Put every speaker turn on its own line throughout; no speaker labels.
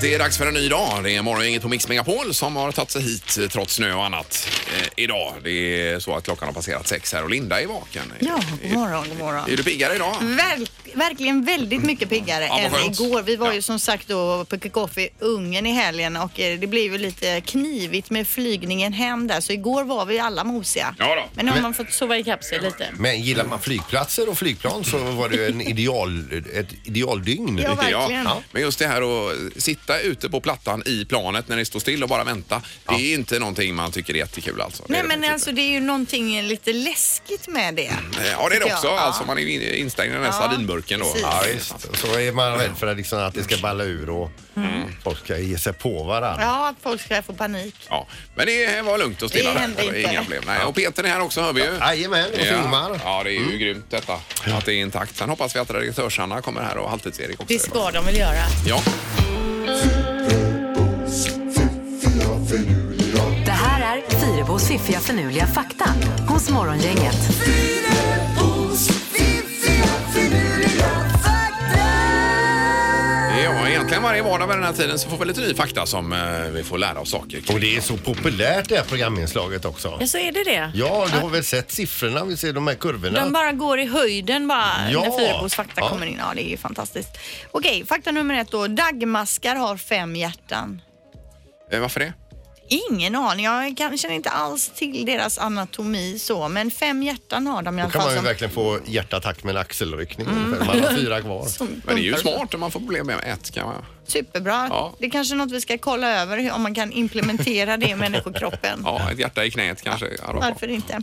det är dags för en ny dag. Det är morgongänget på Mix Megapol som har tagit sig hit eh, trots snö och annat eh, idag. Det är så att klockan har passerat sex här och Linda är vaken.
Ja, Mm. god
är,
morgon, god morgon.
är du piggare idag?
Verk, verkligen väldigt mycket piggare
Ja, vad
än
skönt.
igår. Vi var
Ja.
ju som sagt då på kickoff i Ungern i helgen och eh, det blev ju lite knivigt med flygningen hem där. Så igår var vi alla mosiga.
Ja då.
Men nu har man fått sova ikapp sig lite.
Men gillar man flygplatser och flygplan så var det ju en ideal, ett idealdygn.
Ja, verkligen.
Ja. Men just det här att sitta ute på plattan i planet när det står still och bara vänta. Det är inte någonting man tycker är jättekul alltså. Det är
Nej
det
men
faktiskt
alltså det är ju någonting lite läskigt med det.
inte. Ja, det är det
tycker
också.
jag. Ja.
Alltså man är in- instängd i den här
Ja,
sardinburken då.
precis.
Ja, visst. Så är man rädd för att, liksom, att det ska balla ur och folk ska ge sig på varandra.
Mm. Ja, att folk ska få panik.
Ja, men det var lugnt och stilla
Det
där.
hände
var
inte.
Inga problem. Nej, och Peter är här också hör vi ju.
Jajamän, och så Ingmar.
Ja, det är ju
Mm.
grymt detta. Att det är intakt. Sen hoppas vi att redaktörs-Anna kommer här och halvtids-Erik också.
Det ska de väl göra.
Ja.
Det här är Fyrabos fiffiga förnuliga fakta hos Morgongänget.
ja, egentligen varje vardag vid den här tiden så får vi lite ny fakta som eh, vi får lära oss saker kring.
Och det är så populärt det här programinslaget också.
Ja, så är det det.
Ja, du har väl sett siffrorna? Vi ser de här kurvorna.
De bara går i höjden bara
Ja.
när Fyrabos fakta
Ja.
kommer in. Ja, det är ju fantastiskt. Okej, fakta nummer ett då. Dagmaskar har fem hjärtan.
Eh, Varför det?
Ingen aning. Jag kan, känner inte alls till deras anatomi så, men fem hjärtan har de i
Då
alla fall.
kan man ju
som-
verkligen få hjärtattack med en axelryckning.
Mm.
ungefär. Man har fyra kvar.
som
Men det är ju
pumpar.
smart om man får problem med ett kan man.
Superbra.
Ja.
Det är kanske är något vi ska kolla över, hur- om man kan implementera det i människokroppen.
Ja, ett hjärta i knät kanske. Ja, det var bra.
Varför inte?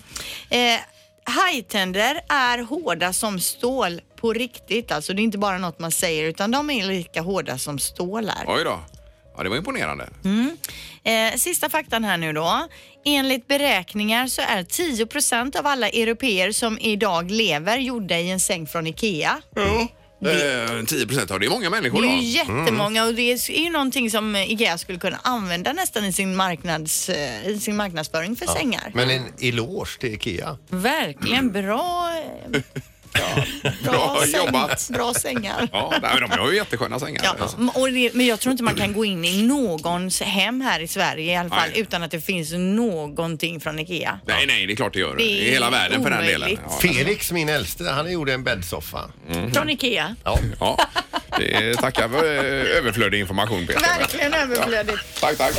Eh, hajtänder är hårda som stål på riktigt. Alltså det är inte bara något man säger utan de är lika hårda som stål är.
Oj då. Ja, det var imponerande.
Mm. Eh, sista faktan här nu då. Enligt beräkningar så är 10 av alla europeer som idag lever gjorda i en säng från IKEA.
Eh, 10 procent av det är många människor
Det är
då.
ju jättemånga och det är ju någonting som IKEA skulle kunna använda nästan i sin, marknads, eh, i sin marknadsföring för sängar.
Men en eloge till Ikea.
Verkligen bra, eh, bra,
Bra
säng,
jobbat.
bra sängar.
Ja, nej, men de har ju jättesköna sängar. Alltså.
Ja, m- och det, men jag tror inte man kan gå in i någons hem här i Sverige i alla fall
Nej.
utan att det finns någonting från IKEA.
Nej, nej, det är klart det gör.
Det är
I hela världen för den
omöjligt.
delen. Ja,
Felix, min äldste, han gjorde en bäddsoffa.
Mm.
Från IKEA?
Ja.
ja. Det är- Tackar för eh, överflödig information Peter.
Verkligen överflödigt.
Tack, tack.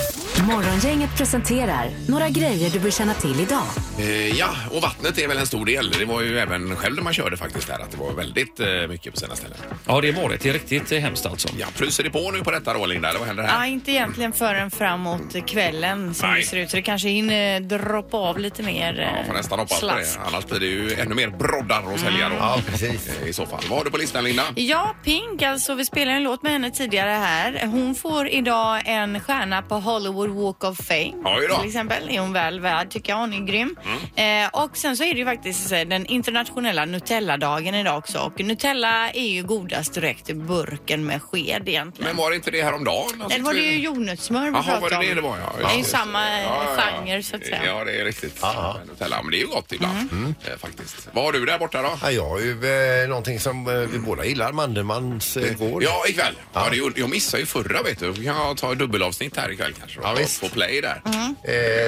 Morgongänget presenterar några grejer du bör känna till idag.
Eh, Ja, och vattnet är väl en stor del. Det var ju även själv när man körde faktiskt där att det var väldigt eh, mycket på sina ställen.
Ja, det var det. Det är riktigt eh, hemskt alltså.
Ja, fryser det på nu på detta då Linda? Eller vad händer
Ja,
här?
inte egentligen förrän framåt kvällen som
Nej.
det ser ut. Så det kanske hinner droppa av lite mer
Man får
eh,
nästan hoppas på det.
slask. Mm.
Annars blir det ju ännu mer broddar och sälja då.
Ja, precis.
Eh, I så fall. Vad har du på listan Linda?
Ja, Pink, alltså vi spelade en låt med henne tidigare här. Hon får idag en stjärna på Hollywood Walk of Fame.
Oj då. Mm.
Till exempel är hon väl värd tycker jag. Hon är grym. Eh, och sen så är det ju faktiskt eh, den internationella Nutella-dagen idag också. Och Nutella är ju godast direkt i burken med sked egentligen.
Men var det inte det häromdagen? Alltså,
Det var det ju jordnötssmör vi
Jaha, var
pratade
det
om.
det det var? Ja,
Det är ju
just
samma eh,
Ja, ja, ja.
genre så att säga. Mm.
Ja, det är riktigt.
Ja.
Nutella, men det är ju gott ibland eh, faktiskt. Vad har du där borta då?
Ja, jag har ju eh, någonting som eh, vi båda gillar, Mandelmans eh, gård.
Mm. Ja, ikväll. Ja.
Ja.
det gjorde- jag missade ju förra vet du. Vi kan ta dubbelavsnitt här ikväll kanske. då.
Ja, visst.
På play där.
Mm.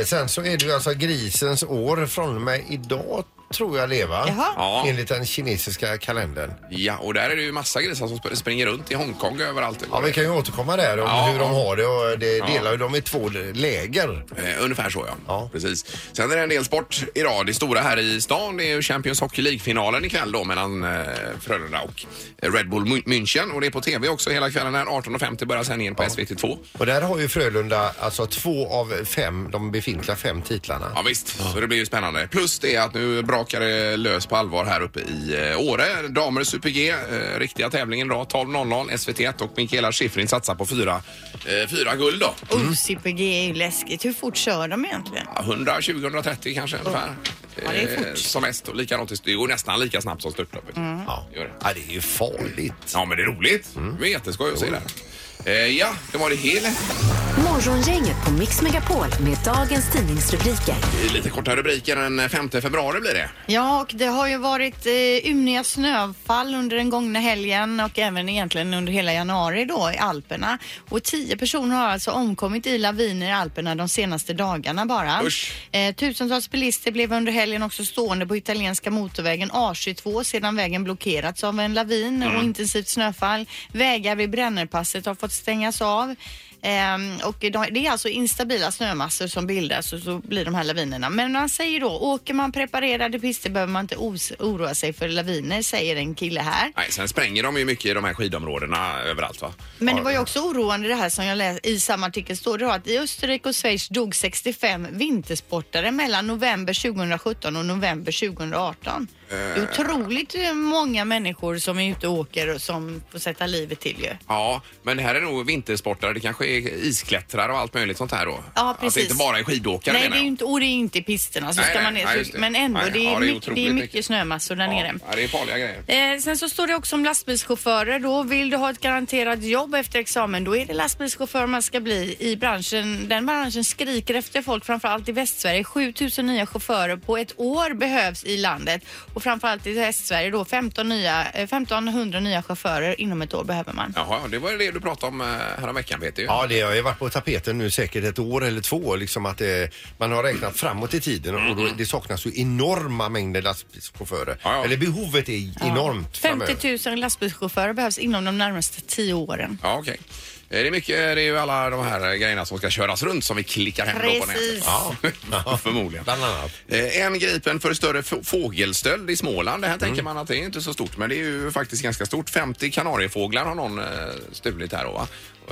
Eh, sen så är det ju alltså grisens år från och med idag tror jag leva.
Jaha.
Ja.
Enligt den kinesiska kalendern.
Ja, och där är det ju massa grisar som sp- springer runt i Hongkong överallt.
Ja, vi kan ju återkomma där om
Ja.
hur de har det och det delar ju dem i två läger.
Eh, ungefär så ja.
Ja.
Precis. Sen är det en del sport idag. Det stora här i stan det är ju Champions Hockey League-finalen ikväll då mellan eh, Frölunda och eh, Red Bull Mün- München. Och det är på TV också hela kvällen här. 18.50 börjar sändningen på SVT2.
Och där har ju Frölunda alltså två av fem, de befintliga fem titlarna.
Ja visst, så det blir ju spännande. Plus det att nu brakar det lös på allvar här uppe i eh, Åre. Damer Super-G, eh, riktiga tävlingen idag 12.00 SVT1 och Mikaela Shiffrin satsar på fyra, eh, fyra guld då.
Oh, CPG är ju läskigt. Hur fort kör de egentligen?
Ja, 120-130 kanske ungefär.
Ja, det är
Eh,
fort. Mm.
Som mest och likadant i- Det går nästan lika snabbt som störtloppet.
Ja.
Gör det.
ja, det är ju farligt.
Ja men det är roligt. Det är jätteskoj att se det här. Eh, ja, det var det hela.
Morgongänget på Mix Megapol med dagens tidningsrubriker.
I Lite korta rubriker än 5 februari blir det.
Ja, och det har ju varit eh, ymniga snöfall under den gångna helgen och även egentligen under hela januari då i Alperna. Och tio personer har alltså omkommit i laviner i Alperna de senaste dagarna bara.
Usch.
Eh, tusentals bilister blev under helgen också stående på italienska motorvägen A22 sedan vägen blockerats av en lavin och intensivt snöfall. Vägar vid Brännerpasset har fått stängas av. Ehm, och de, det är alltså instabila snömassor som bildas och så blir de här lavinerna. Men man säger då, åker man preparerade pister behöver man inte os- oroa sig för laviner, säger en kille här.
Nej, sen spränger de ju mycket i de här skidområdena överallt va?
Men det var ju också oroande det här som jag läste i samma artikel står det då att i Österrike och Schweiz dog 65 vintersportare mellan november 2017 och november 2018. Det
Äh.
är otroligt eh, många människor som är ute och åker och som får sätta livet till ju.
Ja, men det här är nog vintersportare. Det kanske är isklättrare och allt möjligt sånt här då.
Ja,
Att det
precis.
inte bara är skidåkare
Nej,
menar
det är ju
jag.
inte, och det är inte i pisterna så
Nej,
ska
nej,
man ner.
nej,
så-
just det.
men ändå,
Nej,
det är,
ja, det är
mycket, det är
otroligt mycket.
mycket snömassor där nere.
Ja, det är farliga grejer.
Eh, sen så står det också om lastbilschaufförer. Då vill du ha ett garanterat jobb efter examen, då är det lastbilschaufför man ska bli i branschen. Den branschen skriker efter folk, framförallt i Västsverige. 7000 nya chaufförer på ett år behövs i landet och framförallt i Västsverige då 15 nya, eh, 1500 nya chaufförer inom ett år behöver man.
Jaha, det var ju det du pratade om eh, häromveckan Peter. ju.
Ja, det har ju varit på tapeten nu säkert ett år eller två. Liksom att det, man har räknat framåt i tiden och då, det saknas ju enorma mängder lastbilschaufförer.
Ja, ja.
Eller behovet är enormt framöver.
50 000 lastbilschaufförer behövs inom de närmaste 10 åren.
Ja, okej. Eh, Det är mycket, det är ju alla de här grejerna som ska köras runt som vi klickar hem då på nätet.
Precis.
Ja, förmodligen.
Bland annat.
Eh, En gripen för större f- fågelstöld i Småland. Det här tänker man att det är inte så stort, men det är ju faktiskt ganska stort. 50 kanariefåglar har någon eh, stulit här då, va?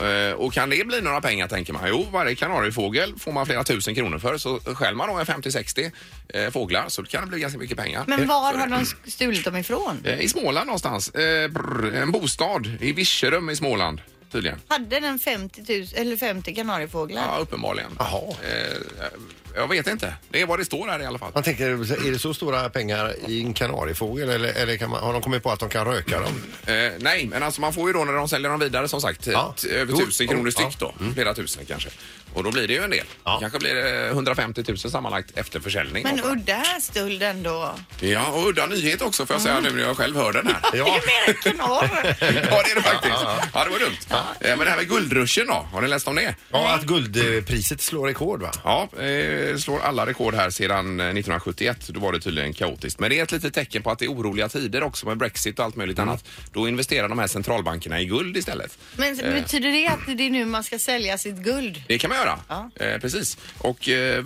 Eh, Och kan det bli några pengar tänker man? Jo, varje kanariefågel får man flera tusen kronor för. Så skäl man då en 50-60 eh, fåglar så kan det bli ganska mycket pengar.
Men var
Så
har
det-
de stulit dem ifrån?
Eh, I Småland någonstans. Eh, brr, En bostad i Virserum i Småland tydligen.
Hade den 50 000, eller 50 kanariefåglar?
Ja, uppenbarligen.
Jaha.
Eh, jag vet inte. Det är vad det står här i alla fall.
Man tänker, är det så stora pengar i en kanariefågel eller, eller kan man, har de kommit på att de kan röka dem?
Eh, nej, men alltså man får ju då när de säljer dem vidare som sagt
Ja.
t- över
Jo,
tusen
jo,
kronor
ja.
styck då. Flera tusen kanske. Och då blir det ju en del.
Ja.
Kanske blir det 150 000 sammanlagt efter försäljning.
Men
Och-
udda här stöld ändå.
ja, och udda nyhet också får jag säga nu när jag själv hör den här.
Det är ju mer en knorr.
ja, det är det faktiskt. Ja, det var dumt. Eh, men det här med guldruschen då, har ni läst om det?
Ja, att guldpriset slår rekord va?
Ja, eh, slår alla rekord här sedan eh, 1971. Då var det tydligen kaotiskt. Men det är ett litet tecken på att det är oroliga tider också med Brexit och allt möjligt
Mm.
annat. Då investerar de här centralbankerna i guld istället.
Men
Eh.
betyder det att det är nu man ska sälja sitt guld?
Det kan man göra.
Ja.
Eh, precis. Och eh,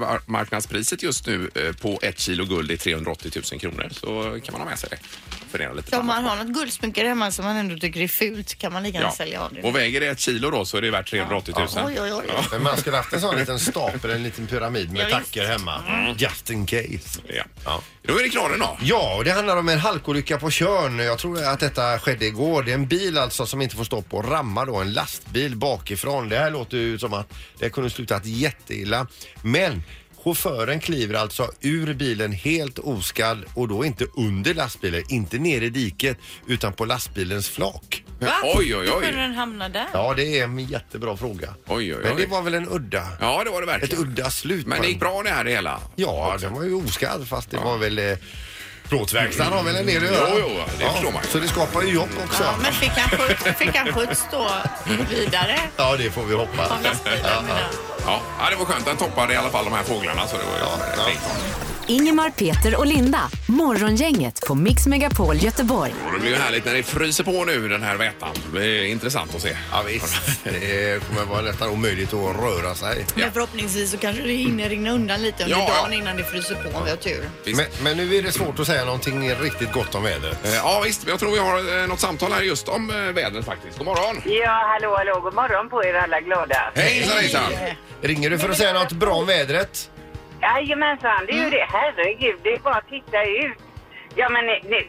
världsmarknadspriset just nu eh, på ett kilo guld är 380 000 kronor. Så kan man ha med sig det. Fundera lite
Så om man
framåt.
har något guldsmycke hemma som man ändå tycker är fult kan man lika gärna sälja av det.
Och väger det ett kilo då så är det värt 380 000.
Oj, oj, oj.
Men man skulle haft en sån liten stapel, en liten pyramid med
Ja, visst. Mm.
tacker hemma. Just in case.
Ja.
Ja.
Då är det klar då.
Ja, och det handlar om en halkolycka på Tjörn. Jag tror att detta skedde igår. Det är en bil alltså som inte får stopp och rammar då en lastbil bakifrån. Det här låter ju som att det kunde slutat jätteilla. Men chauffören kliver alltså ur bilen helt oskadd och då inte under lastbilen, inte ner i diket utan på lastbilens flak.
Va?
Oj, oj,
Hur kunde
oj.
den hamna där?
Ja, det är en jättebra fråga.
Oj, oj,
Men det
oj.
var väl en udda,
Ja, det var det
ett
verkligen.
udda slut.
Men
på
det
den.
gick bra det här det hela.
Ja, den var ju oskadd fast det var väl eh, plåtverkstaden har väl en del att göra.
Jo, jo, det förstår man ju.
Så det skapar ju jobb också.
Ja, men fick han skjuts, fick han skjuts då vidare?
Ja, det får vi hoppas.
Av lastbilen menar jag.
Ja, ja, det var skönt. Den toppade i alla fall de här fåglarna. Så det var ju
ja.
Ingemar, Peter och Linda. Morgongänget på Mix Megapol Göteborg.
Och Det blir ju härligt när det fryser på nu, den här vätan. Det blir intressant att se. Eh,
Ja, visst. Det kommer vara nästan omöjligt att röra sig.
Men förhoppningsvis så kanske det hinner rinna undan lite under
Ja, ja.
dagen innan det fryser på om vi har tur.
Visst.
Men, men nu är det svårt att säga någonting riktigt gott om vädret.
Eh, Ja visst, men jag tror vi har eh, något samtal här just om eh, vädret faktiskt. God morgon!
Ja, hallå, hallå. God morgon på er alla glada.
Hejsan hejsan!
Ringer du för att säga något bra om vädret?
Jajamensan, det
Mm.
är ju det. Herregud, det är bara att titta ut. Ja, men ni, ni,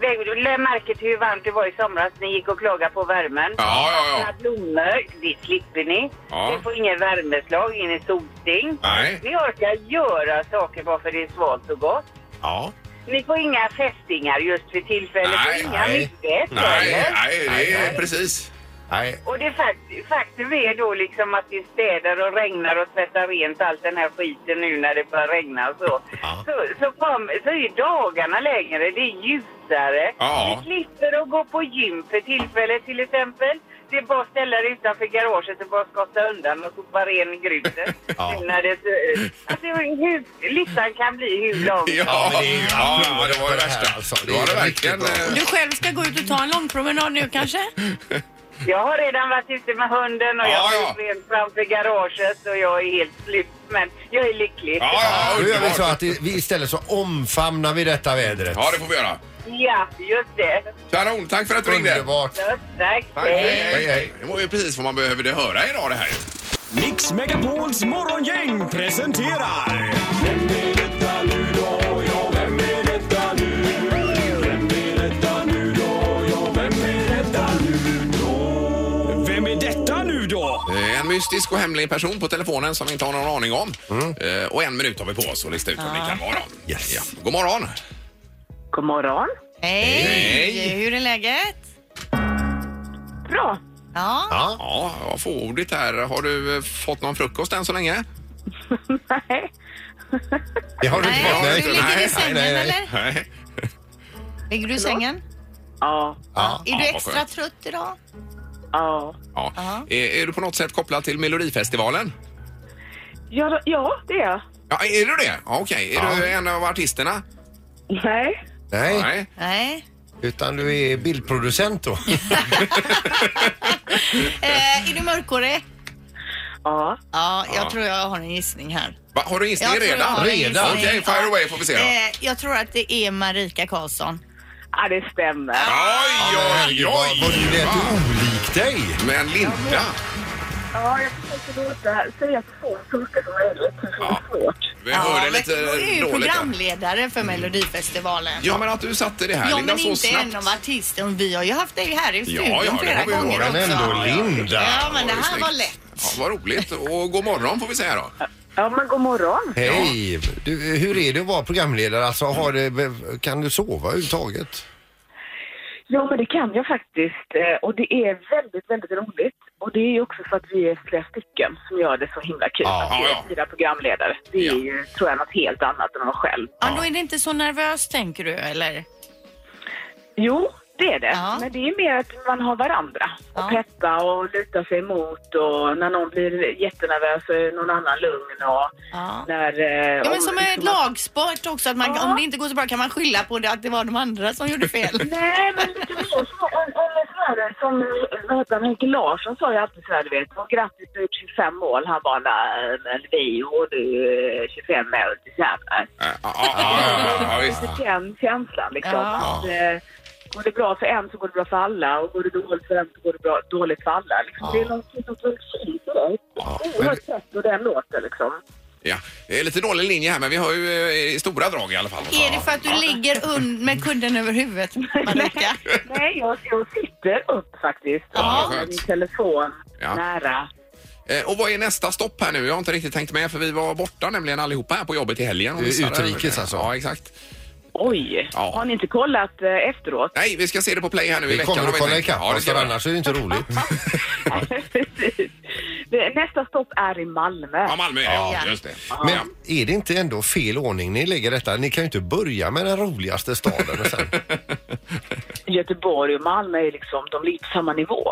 väg- lä märke till hur varmt det var i somras. Ni gick och klagade på värmen.
Ja, ja, ja.
Alla blommor, det slipper ni.
Ja.
Ni får ingen värmeslag, ingen solsting.
Nej.
Ni orkar göra saker bara för det är svalt och gott.
Ja.
Ni får inga fästingar just för tillfället.
Nej,
och inga
nej.
myggväst
Nej,
heller.
nej, det är precis.
Nej,
Och det fakt- faktum är då liksom att det städar och regnar och tvättar rent all den här skiten nu när det börjar regna och så.
Ja.
Så, så, kom, så är ju dagarna längre, det är ljusare.
Ja.
Vi slipper att gå på gym för tillfället till exempel. Det är bara att ställa det utanför garaget och bara skotta undan och sopa ren gruset.
Ja.
Nu När det, alltså, hur, listan kan bli hur lång som
Ja,
men det är ju-
ja, det var det
det här
värsta.
alltså.
Det
Det
var
är
det
riktigt
verkligen.
bra.
eh,
Du själv ska gå ut och ta en lång promenad nu kanske?
Jag har redan varit ute med hunden och
Ja,
jag har
ja.
gjort rent framför garaget och jag är helt slut. Men jag är lycklig.
Ja, ja,
Nu gör vi så
underbart.
att det- vi istället så omfamnar vi detta vädret.
Ja, det får vi göra.
Ja, just det.
Kanon, tack för att du ringde.
Underbart.
Ja, Tack.
Tack, hej,
Hej,
hej, hej.
hej.
Det var ju precis vad man behövde höra idag det här ju.
Mix Megapols morgongäng presenterar... Vem är detta nu då? Ja, vem är detta nu? Vem är detta nu då? Ja, vem är detta nu då? Vem är detta nu då?
Eh, En mystisk och hemlig person på telefonen som vi inte har någon aning om. Eh, Och en minut har vi på oss att lista ut vem det kan vara.
Yes.
Ja. God morgon!
God morgon.
Hej!
Hej.
Hur är läget?
Bra.
Ja.
Ja.
Ja, jag får ordet här. Har du eh, fått någon frukost än så länge?
Nej.
Det har du inte
Nej,
det
fått.
är
du
Nej.
inte.
ligger
Nej,
i sängen
nej, nej.
eller?
Nej.
Ligger du i sängen?
Ja.
Ja.
Är du
Ja, vad
extra
skönt.
trött idag?
Ja.
Ja.
Ja.
Är, är du på något sätt kopplad till Melodifestivalen?
Ja, ja det är jag.
Ja, är du det? Ja, Okej. Är du en av artisterna?
Mm.
Nej.
Nej,
Nej.
utan du är bildproducent då.
Eh, är du mörkhårig?
Ja.
Ja, jag
Ja.
tror jag har en gissning här.
Va, har du gissning
Jag tror jag
redan?
har en gissning.
Redan?
Okej, fire away får vi se då.
Eh, jag tror att det är Marika Karlsson.
ja, det stämmer.
Oj, oj, Ah.
Vad- vad Du
oj!
lät
Va?
olik dig.
Men Linda,
Ja, jag försöker låta säga så få saker som möjligt. Det
Ja.
är svårt.
vi hör det lite
men Du är ju
dåligt. här.
programledare för Melodifestivalen.
Ja, men att du satte det här
Ja,
Linda
men
så
inte
snabbt.
en av artisterna. Vi har ju haft dig här i studion
ja, det
flera
har vi ju.
gånger
Men
också.
Men ändå Linda.
Ja, men det
ju
här
snyggt.
var lätt.
Ja, vad roligt och god morgon får vi säga då.
Ja, men god morgon.
Hej! Du, hur är det att vara programledare? Alltså, har det, kan du sova överhuvudtaget?
Ja, men det kan jag faktiskt. Eh, Och det är väldigt, väldigt roligt. Och det är ju också för att vi är flera stycken som gör det så himla kul.
Ja.
att vi
Ja,
är
ja.
fyra programledare. Det är
Ja.
ju, tror jag, något helt annat än att vara själv.
Ja, då är det inte så nervöst tänker du eller?
Jo, det är det.
Ja.
Men det är mer att man har varandra. Och
Ja.
peppa och luta sig emot. Och när någon blir jättenervös så är någon annan lugn. Och
Ja.
när, eh,
Ja, men
om-
som en
att-
lagsport också, att man,
Ja.
om det inte går så bra kan man skylla på det att det var de andra som gjorde fel.
Nej, men lite mer så. Om, om en sån här som, vad heter han, Henke Larsson sa ju alltid så här, du vet. Och grattis, du har gjort 25 mål. Han bara, nej, men vi gjorde ju 25 mål tillsammans.
Ja, ja, ja, ja, visst.
Lite den känslan liksom.
Ja.
Att, eh, går det bra för en så går det bra för alla och går det dåligt för en så går det bra, dåligt för alla. Liksom. Det är någonting som väldigt fint i det. Oerhört tätt och den låter liksom.
Ja, det är lite dålig linje här men vi har ju eh, i stora drag i alla fall.
Är det för att du ligger und- med kudden över huvudet, Marika?
Nej, jag, jag sitter upp faktiskt.
Ja,
med
skönt.
min telefon
Ja.
nära.
Eh, Och vad är nästa stopp här nu? Jag har inte riktigt tänkt med för vi var borta nämligen allihopa här på jobbet i helgen. och
Eh,
missade-
utrikes alltså?
Ja, exakt.
Oj!
Ja.
Har ni inte kollat eh, efteråt?
Nej, vi ska se det på play här nu i
Vi
veckan.
kommer
har
att
vi
kolla
tänkt.
ikapp
Ja, det
oss,
ska
för
vi.
annars är det inte roligt.
Precis. Det- Nästa stopp är i Malmö.
Ja, Malmö är det. Ja, just det.
Men
Ja.
är det inte ändå fel ordning ni lägger detta? Ni kan ju inte börja med den roligaste staden och sen...
Göteborg och Malmö är liksom, de ligger på samma nivå.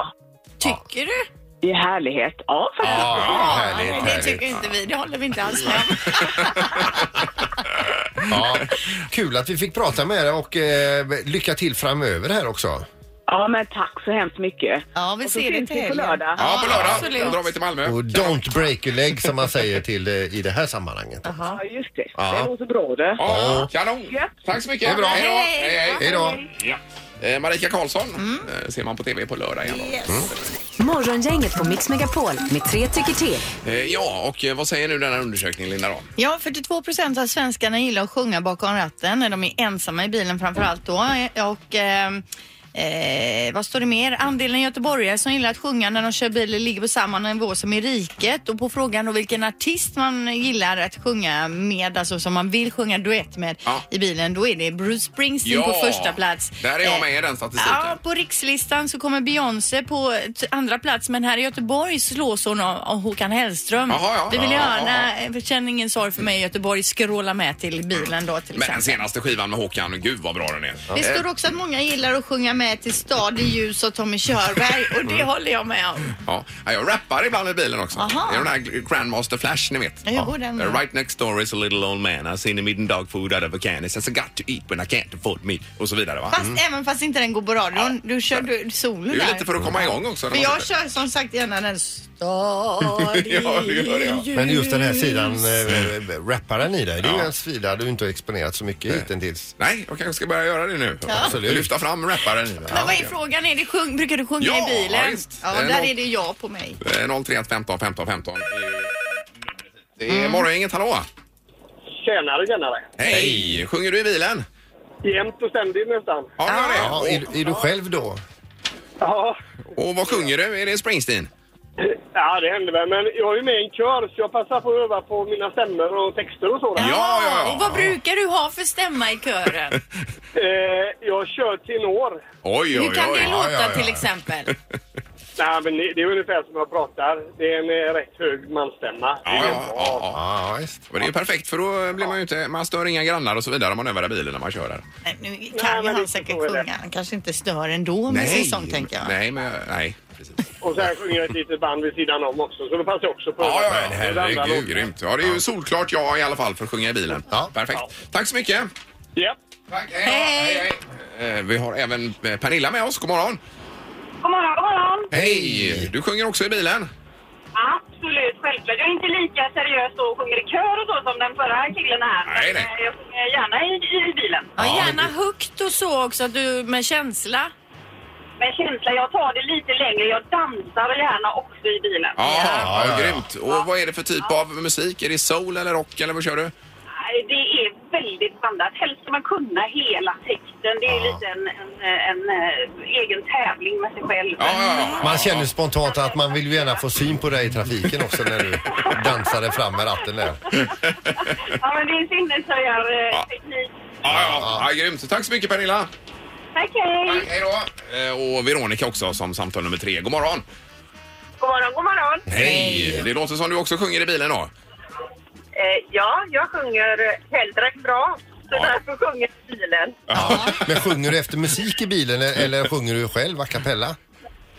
Tycker du?
I härlighet. Ja, faktiskt.
Ja, härligt,
men det
härligt.
tycker inte vi. Det håller vi inte alls med om.
Ja, kul att vi fick prata med er och eh, lycka till framöver här också.
Ja, men tack så hemskt mycket.
Ja, vi
Och så
ser det
syns
till
vi på
helgen.
lördag.
Ja, på lördag
absolut.
drar vi till Malmö.
Och don't break your leg som man säger till eh, i det här sammanhanget.
Ja, just det.
Ja.
Det låter bra det.
Ja, kanon!
Gött.
Tack så mycket!
är bra.
Hej då! Hej, hej.
Hej då!
Ja. Eh, Marika Karlsson
Mm.
eh, ser man på tv på lördag igen. då.
Morgongänget på Mix Megapol med tre tycker till.
Eh, ja, och eh, vad säger nu denna undersökning Linda då?
Ja, 42 procent av svenskarna gillar att sjunga bakom ratten när de är ensamma i bilen framför allt då. Och, ehm, Eh, vad står det mer? Andelen göteborgare som gillar att sjunga när de kör bil ligger på samma nivå som i riket. Och på frågan då vilken artist man gillar att sjunga med, alltså som man vill sjunga duett med
Ja.
i bilen, då är det Bruce Springsteen
Ja,
på första plats.
där är jag
Eh,
med i den statistiken.
Ja, på rikslistan så kommer Beyoncé på t- andra plats, men här i Göteborg slås hon av av Håkan Hellström.
Jaha, ja.
det vill jag
Ja, ja,
gärna, eh, känn ingen sorg för mig i Göteborg, skråla med till bilen då till
Men den
exempel.
senaste skivan med Håkan, gud vad bra den är.
Det står också att många gillar att sjunga med till Stad i ljus och Tommy Körberg och
Mm.
det håller jag med om.
Ja, Ja, jag rappar ibland i bilen också.
Aha.
Det är den här Grandmaster Flash ni vet. Eh,
Ja, hur går den?
Right next door is a little old man. I seen him eating dog food out of a can. He says I got to eat when I can't afford meat. Och så vidare va? Mm.
Fast, Även fast inte den går på radion. Du kör du,
Det är
solen
ju
där.
lite för att komma igång också. när
För
man
jag
sitter.
kör som sagt gärna den Stad i
Ja, det gör jag.
Men just den här sidan,
Mm.
äh, rapparen i dig, det är ju en sida du inte har exponerat så mycket hittills.
Nej, jag kanske ska börja göra det nu. Absolut. Lyfta fram rapparen.
Men vad är frågan? Är det sjung, brukar du sjunga
Ja,
i bilen?
visst.
Ja,
Det är
där
någon-
är det jag på mig.
Eh, 031 15 15 15. Det är morgongänget, hallå!
Tjänare, tjänare.
Hej! Sjunger du i bilen?
Jämt och ständigt nästan.
Ja, du
Ja,
gör det.
är, är du själv då?
Ja,
Och, och vad sjunger du? Är det Springsteen?
ja det händer väl. Men jag är ju med i en kör så jag passar på att öva på mina stämmor och texter och sådant.
ja, ja.
Och vad brukar du ha för stämma i kören?
Eh, jag kör tenor.
Oj, oj, oj.
Hur kan det låta
ja, ja.
till exempel?
Nej, men det det är ungefär som jag pratar. Det är en eh, rätt hög mansstämma. Det är
Ja, ja,
jättebra.
ja, ja.
Ja, visst.
Men det är ju perfekt för då blir man ju inte, man stör inga grannar och så vidare om man övar i bilen när man kör där.
Nej, nu
Nej,
kan
men
ju han
det
säkert
förstår jag
sjunga. Han kanske inte stör ändå med sin sång tänker jag.
Nej, men nej. Precis.
Och sen sjunger jag ett litet band vid sidan om också så då passar jag också på
Ja, ja,
öva.
ja,
Det är det andra
herregud.
låten.
Grymt. Ja, det är ju solklart ja i alla fall för att sjunga i bilen.
Ja.
Perfekt.
Ja.
Tack så mycket.
Japp.
Tack, hej,
Hej.
hej. Eh, Vi har även eh, Pernilla med oss. God morgon.
God morgon, god morgon.
Hej! Du sjunger också i bilen?
Absolut, självklart. Jag är inte lika seriös och sjunger i kör och så som den förra killen här.
Nej, nej.
Men, eh, Jag sjunger gärna i, i bilen.
Ja, gärna högt och så också, att du med känsla.
Men känsla, jag tar det lite längre. Jag dansar gärna också i bilen.
Ja, ja,
Ja, ja, ja.
grymt. Och vad är det för typ av musik? Är det soul eller rock eller vad kör du?
Nej, Det är väldigt blandat. Helst ska man kunna hela texten. Det är lite en, en, en, eh, egen tävling med sig själv.
Ja, ja, ja.
Man känner spontant att man vill ju gärna få syn på dig i trafiken också när du dansade fram med ratten där.
Ja, men det är
Ja.
sinneshöjarteknik.
Ja, ja, ja, grymt. Tack så mycket Pernilla.
Tack, hej!
Hej då. Eh, Och Veronica också som samtal nummer tre. God morgon.
God morgon, god morgon!
Hej! Det låter som du också sjunger i bilen då.
Eh, ja, jag sjunger hellre än bra. Så
Ja.
därför sjunger jag i bilen.
Men sjunger du efter musik i bilen eller- eller sjunger du själv a cappella?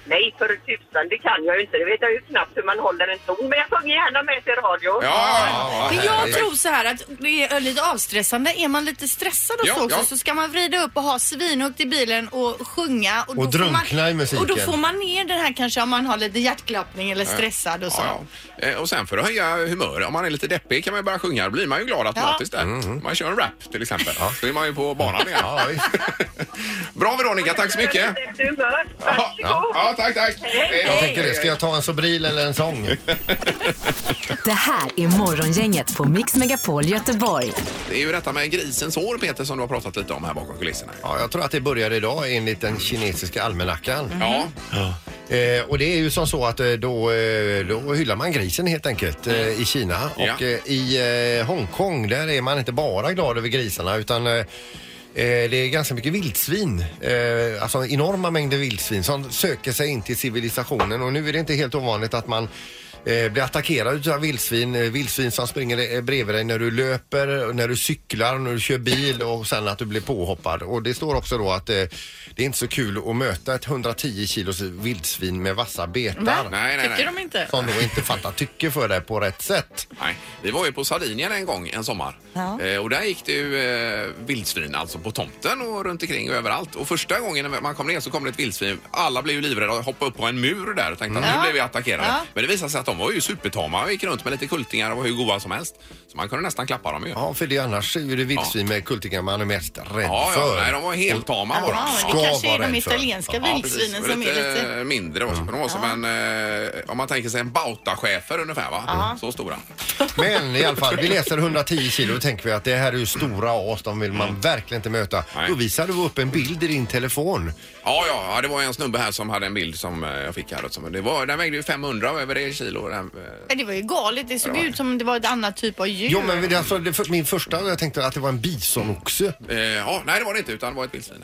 Nej, för tusan, det kan jag ju inte. Det vet jag ju knappt hur man håller en ton. Men jag sjunger gärna med till radio.
Ja, ja, ja.
Men jag tror så här att det är lite avstressande. Är man lite stressad och
Ja,
så också
ja.
så ska man vrida upp och ha svinhögt i bilen och sjunga. Och,
Och
då får
drunkna i musiken.
Och då får man ner den här kanske om man har lite hjärtklappning eller stressad och så.
Ja, ja. Eh, Och sen för att höja humör, om man är lite deppig kan man ju börja sjunga. Då blir man ju glad automatiskt där. Man kör en rap till exempel. Så är man ju på banan igen.
Ja, visst.
Bra Veronica, tack så mycket.
Efter humör. Varsågod!
Ja, tack, tack.
Jag tänker det. Ska jag ta en sobril eller en sång?
Det här är Morgongänget på Mix Megapol Göteborg.
Det är ju detta med grisens hår Peter som du har pratat lite om här bakom kulisserna.
Ja, jag tror att det börjar idag enligt den kinesiska almanackan.
Ja,
Eh, och det är ju som så att eh, då, eh, då hyllar man grisen helt enkelt eh, i Kina.
Ja.
Och eh, i eh, Hongkong där är man inte bara glad över grisarna utan eh, eh, det är ganska mycket vildsvin, eh, alltså enorma mängder vildsvin som söker sig in till civilisationen och nu är det inte helt ovanligt att man eh, blir attackerad av vildsvin, eh, vildsvin som springer eh, bredvid dig när du löper, när du cyklar, när du kör bil och sen att du blir påhoppad. Och det står också då att eh, det är inte så kul att möta ett 110 kilos vildsvin med vassa betar.
nej, nej,
Tycker
nej.
de inte?
Som då inte fattar tycke för det på rätt sätt.
nej. Vi var ju på Sardinien en gång, en sommar.
Ja.
Eh, och där gick det ju eh, vildsvin alltså på tomten och runt omkring och överallt. Och första gången när man kom ner så kom det ett vildsvin. Alla blev ju livrädda och hoppade upp på en mur där och tänkte att nu
Mm. Ja.
blev vi attackerade.
Ja.
Men det visade sig att de de var ju supertama och gick runt med lite kultingar och var hur goda som helst. Så man kunde nästan klappa dem ju.
Ja, för det annars är ju det vildsvin med kultingar man är mest rädd
Ja, ja,
för.
nej, de var helt tama var
Ja,
de.
Ska
det kanske är
vara
de
rädd för.
italienska
Ja, precis.
vildsvinen
Det var
som är lite...
mindre. Var, så. Men De var som en, eh, om man tänker sig en bautachefer ungefär va? Så stora.
Men i alla fall, vi läser 110 kilo och tänker vi att det här är ju stora as, de vill man verkligen inte möta.
Mm. Nej.
Då visar du upp en bild i din telefon.
Ja, ja, ja, det var en snubbe här som hade en bild som eh, jag fick här. Som, det var, den vägde ju 500 och över det kilo. Den, eh,
Men Det var ju galet. Det såg ut som det var ett annat typ av djur.
Jo men det, alltså, det, för, min första, jag tänkte att det var en bisonoxe.
eh, ja, nej, det var det inte utan det var ett vildsvin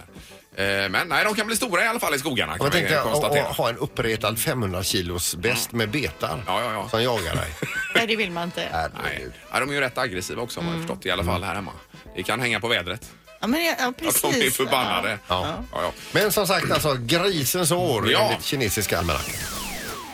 där. Eh, men nej, de kan bli stora i alla fall i skogarna
Och
kan
jag
vi
tänkte
eh,
att att-
konstatera. Mm.
att ha en uppretad 500 kilos bäst med betar
Ja, ja, ja.
som jagar dig.
Nej, det vill man inte.
Nej.
Herregud.
Ja, de är ju rätt aggressiva också
Mm.
har jag förstått i alla fall här hemma. Det kan hänga på vädret.
Ja, men det, ja,
Att
precis.
de är förbannade.
Ja.
Ja, ja.
Men som sagt alltså, grisens år
Ja.
enligt kinesiska almanackan.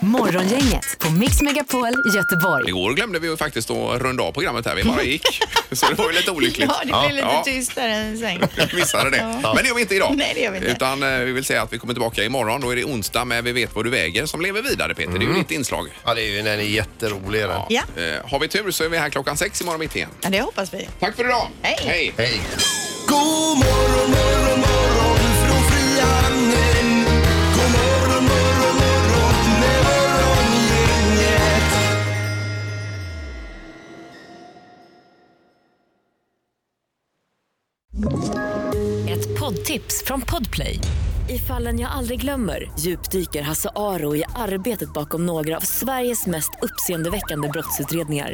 Morgongänget på Mix Megapol Göteborg.
Igår glömde vi ju faktiskt att runda av programmet här. Vi bara gick. Så det var ju lite olyckligt.
Ja, det blev lite tyst där en säng.
Vi missade det. Men det gör vi inte idag.
Nej, det gör vi inte.
Utan eh, vi vill säga att vi kommer tillbaka imorgon. Då är det onsdag med Vi vet vad du väger som lever vidare, Peter. Det är ju ditt inslag.
Ja, det är ju, den är jätterolig den.
Ja.
Eh, Har vi tur så är vi här klockan sex imorgon mitt igen.
Ja, det hoppas vi.
Tack för idag.
Hej.
Hej.
Hej!
God morgon, morgon, morgon från Frihamnen. God morgon, morgon, morgon med morgongänget.
Ett poddtips från Podplay. I fallen jag aldrig glömmer djupdyker Hasse Aro i arbetet bakom några av Sveriges mest uppseendeväckande brottsutredningar.